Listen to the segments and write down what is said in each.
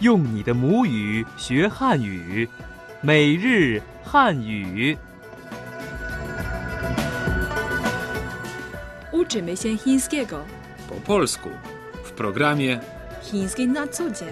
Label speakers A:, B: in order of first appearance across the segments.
A: 用你的母语学汉语，每日汉语。
B: Uczymy się chińskiego.
C: po polsku w programie
B: Chiński na co dzień.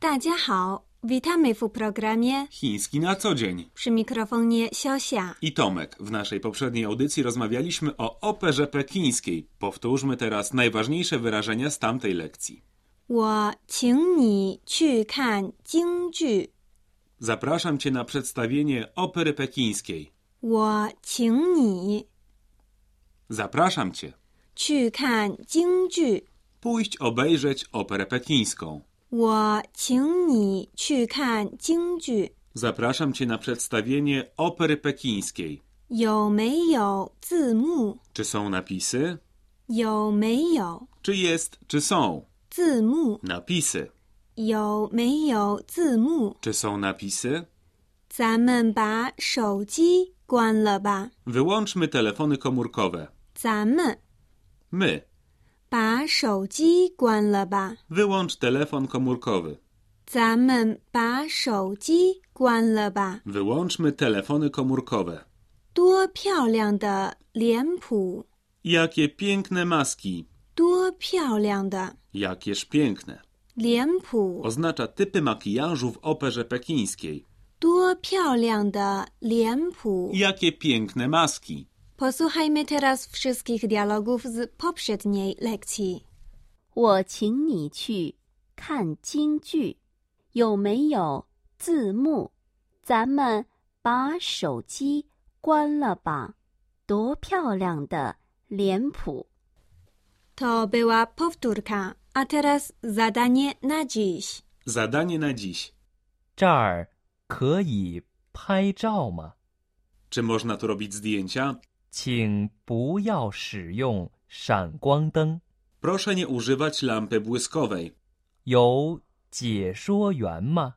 D: Dacia hao, witamy w programie
C: Chiński na co dzień.
D: przy mikrofonie Siosia.
C: I Tomek, w naszej poprzedniej audycji rozmawialiśmy o operze pekińskiej. Powtórzmy teraz najważniejsze wyrażenia z tamtej lekcji.
D: 我请你去看京剧。
C: Zapraszam cię na przedstawienie opery pekińskiej.
D: 我请你
C: Zapraszam cię.
D: 去看京剧。
C: Pójść obejrzeć operę pekińską.
D: 我请你去看京剧。
C: Zapraszam cię na przedstawienie opery pekińskiej.
D: 有没有字幕？
C: Czy są napisy?
D: 有没有
C: Czy jest, czy są
D: 字幕？
C: napisy?
D: 有没有字幕？
C: Czy są napisy?
D: 咱们把手机关了吧。
C: Wyłączmy telefony komórkowe.
D: 咱们
C: My.
D: 把手机关了吧。
C: Wyłącz telefon komórkowy.
D: 咱们把手机关了吧！
C: Wyłączmy telefony komórkowe.
D: 多漂亮的脸谱，
C: Jakie piękne maski.
D: 多漂亮的
C: Jakież piękne.
D: 脸谱，
C: Oznacza typy makijażu w operze pekińskiej.
D: 多漂亮的脸谱。
C: Jakie piękne maski.
D: Posłuchajmy teraz wszystkich dialogów z poprzedniej lekcji.
E: 我请你去看京剧，有没有字幕？咱们把手机关了吧。多漂亮的脸谱！
D: To była powtórka, a teraz zadanie na dziś.
C: Zadanie na dziś.
A: 这儿可以拍照吗？
C: Czy można tu robić zdjęcia?
A: 请不要使用闪光灯。
C: Proszę nie używać lampy błyskowej.
A: 有解说员吗？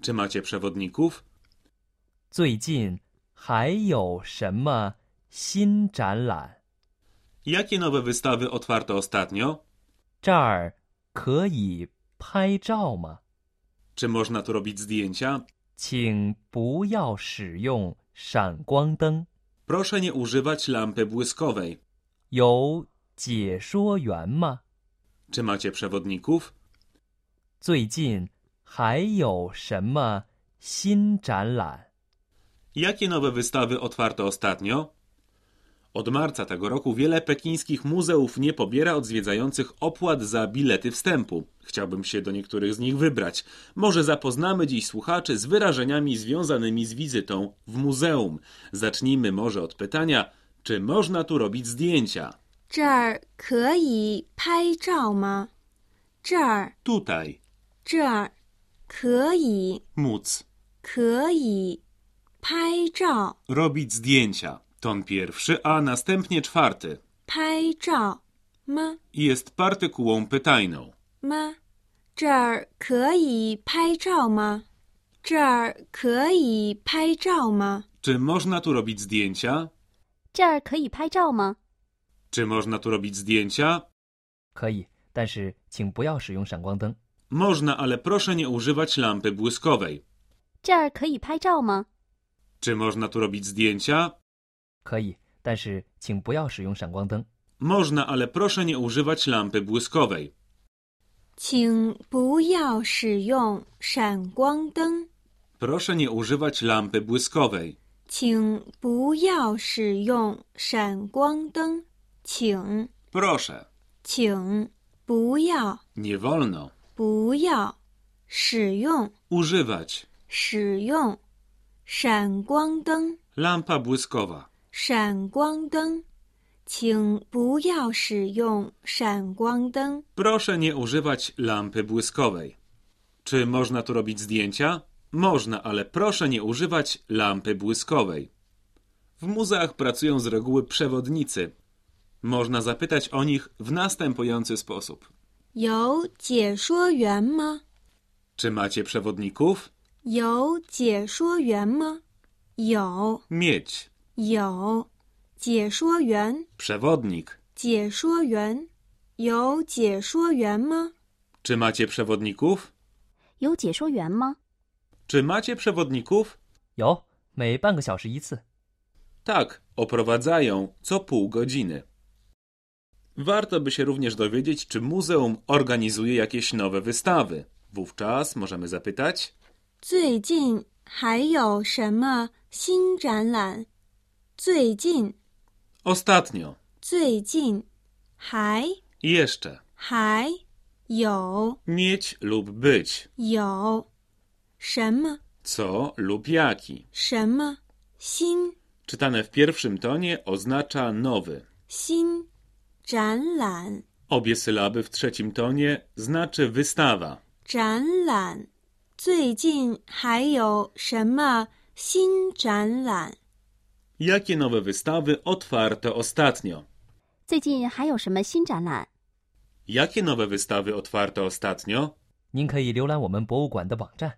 C: Czy macie przewodników?
A: 最近还有什么新展览？
C: Jakie nowe wystawy otwarto ostatnio?
A: 这儿可以拍照吗？
C: Czy można tu robić zdjęcia?
A: 请不要使用闪光灯。
C: Proszę nie używać lampy błyskowej.
A: 有解说员吗？
C: Czy macie przewodników?
A: 最近还有什么新展览？
C: Jakie nowe wystawy otwarto ostatnio? Od marca tego roku wiele pekińskich muzeów nie pobiera od zwiedzających opłat za bilety wstępu. Chciałbym się do niektórych z nich wybrać. Może zapoznamy dziś słuchaczy z wyrażeniami związanymi z wizytą w muzeum. Zacznijmy może od pytania, czy można tu robić zdjęcia?
D: 这儿可以拍照吗？这儿
C: Tutaj,
D: 这儿可以
C: móc,
D: 可以拍照
C: robić zdjęcia. Ton pierwszy, a następnie czwarty.
D: 拍照吗
C: Jest partykułą pytajną.
D: 吗？这儿可以拍照吗？这儿可以拍照吗？
C: Czy można tu robić zdjęcia?
E: 这儿可以拍照吗？
C: Czy można tu robić zdjęcia?
A: 可以，但是请不要使用闪光灯。
C: Można, ale proszę nie używać lampy błyskowej.
E: 这儿可以拍照吗？
C: Czy można tu robić zdjęcia?
A: 可以，但是请不要使用闪光灯。
C: Można, ale proszę nie używać lampy błyskowej.
D: 请不要使用闪光灯，
C: Proszę nie używać lampy błyskowej.
D: 请不要使用闪光灯，请
C: Proszę.
D: 请不要
C: Nie wolno.
D: 不要使用
C: Używać.
D: 使用闪光灯。
C: Lampa błyskowa.
D: 闪光灯，请不要使用闪光灯。
C: Proszę nie używać lampy błyskowej. Czy można tu robić zdjęcia? Można, ale proszę nie używać lampy błyskowej. W muzeach pracują z reguły przewodnicy. Można zapytać o nich w następujący sposób.
D: 有解说员吗？
C: Czy macie przewodników?
D: 有解说员吗？有，
C: Mieć.
D: 有，解说员，
C: Przewodnik.
D: 解说员，有解说员吗？
C: Czy macie przewodników?
E: 有解说员吗？
C: Czy macie przewodników?
A: 有，每半个小时一次。
C: Tak, oprowadzają co pół godziny. Warto by się również dowiedzieć, czy muzeum organizuje jakieś nowe wystawy. Wówczas możemy zapytać.
D: 最近还有什么新展览？最近，
C: Ostatnio
D: 最近，还
C: i jeszcze
D: 还有
C: mieć lub być,
D: 有什么
C: co lub jaki.
D: 什么新
C: Czytane w pierwszym tonie oznacza nowy.
D: 新展览
C: Obie sylaby w trzecim tonie znaczy wystawa.
D: 展览？最近还有什么新展览？
C: Jakie nowe wystawy otwarte ostatnio?
E: 最近还有什么新展览？
C: Jakie nowe wystawy otwarte ostatnio?
A: 您可以浏览我们博物馆的网站。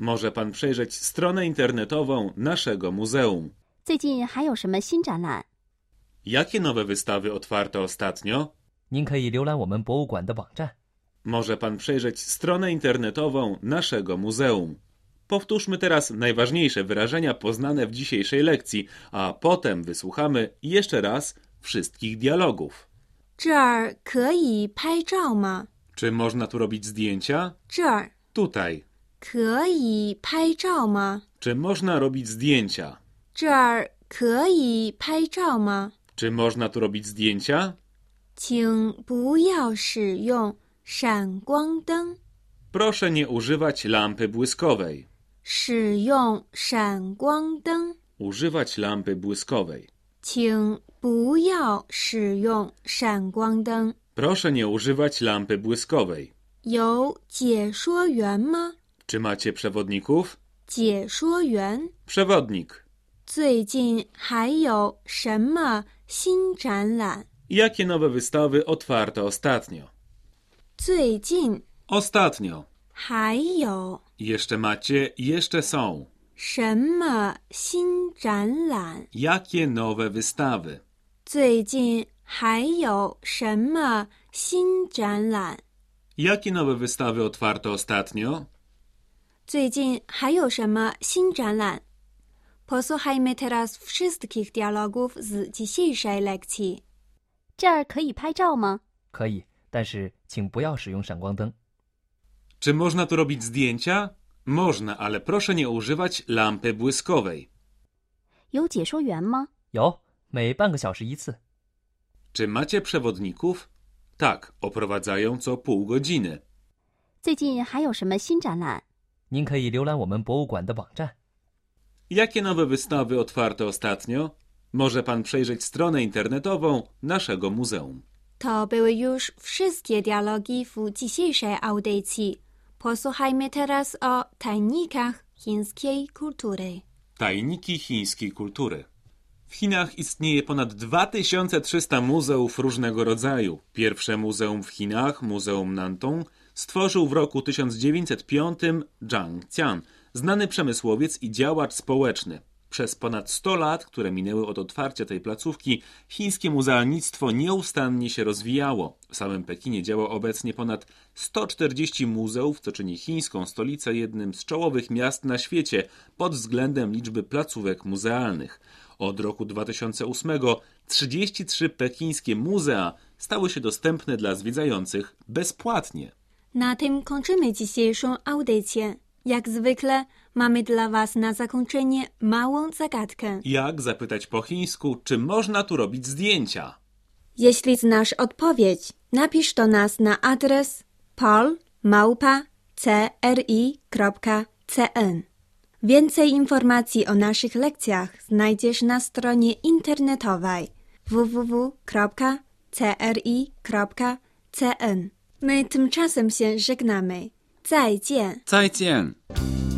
C: Może pan przejrzeć stronę internetową naszego muzeum.
E: 最近还有什么新展览？
C: Jakie nowe wystawy otwarte ostatnio?
A: 您可以浏览我们博物馆的网站。
C: Może pan przejrzeć stronę internetową naszego muzeum. Powtórzmy teraz najważniejsze wyrażenia poznane w dzisiejszej lekcji, a potem wysłuchamy jeszcze raz wszystkich dialogów.
D: 这儿可以拍照吗？
C: Czy można tu robić zdjęcia?
D: 这儿
C: Tutaj.
D: 可以拍照吗？
C: Czy można robić zdjęcia?
D: 这儿可以拍照吗？
C: Czy można tu robić zdjęcia?
D: 请不要使用闪光灯，
C: Proszę nie używać lampy błyskowej.
D: 使用闪光灯，
C: Używać lampy błyskowej.
D: 请不要使用闪光灯。
C: Proszę nie używać lampy błyskowej.
D: 有解说员吗？
C: Czy macie przewodników?
D: 解说员，
C: Przewodnik.
D: 最近还有什么新展览？
C: Jakie nowe wystawy otwarte ostatnio?
D: 最近
C: Ostatnio.
D: 还有
C: Jeszcze macie, jeszcze są.
D: 什么新展览？
C: Jakie nowe wystawy?
D: 最近还有什么新展览？
C: Jakie nowe wystawy otwarte ostatnio?
D: 最近还有什么新展览？Posłuchajmy teraz wszystkich dialogów z dzisiejszej lekcji.
E: 这儿可以拍照吗？
A: 可以，但是请不要使用闪光灯。
C: Czy można tu robić zdjęcia? Można, ale proszę nie używać lampy błyskowej.
E: 有解说员吗？
A: 有，每半个小时一次。
C: Czy macie przewodników? Tak, oprowadzają co pół godziny.
E: 最近还有什么新展览？
A: 您可以浏览我们博物馆的网站。
C: Jakie nowe wystawy otwarte ostatnio? Może pan przejrzeć stronę internetową naszego muzeum.
D: To były już wszystkie dialogi w dzisiejszej audycji. Posłuchajmy teraz o tajnikach chińskiej kultury.
C: Tajniki chińskiej kultury. W Chinach istnieje ponad 2300 muzeów różnego rodzaju. Pierwsze muzeum w Chinach, Muzeum Nantong, stworzył w roku 1905 Zhang Qian, znany przemysłowiec i działacz społeczny. Przez ponad 100 lat, które minęły od otwarcia tej placówki, chińskie muzealnictwo nieustannie się rozwijało. W samym Pekinie działa obecnie ponad 140 muzeów, co czyni chińską stolicę jednym z czołowych miast na świecie pod względem liczby placówek muzealnych. Od roku 2008 33 pekińskie muzea stały się dostępne dla zwiedzających bezpłatnie.
D: Na tym kończymy dzisiejszą audycję. Jak zwykle mamy dla Was na zakończenie małą zagadkę.
C: Jak zapytać po chińsku, czy można tu robić zdjęcia?
D: Jeśli znasz odpowiedź, napisz do nas na adres polmałpa.cri.cn. Więcej informacji o naszych lekcjach znajdziesz na stronie internetowej www.cri.cn. My tymczasem się żegnamy. 再见。
C: 再见。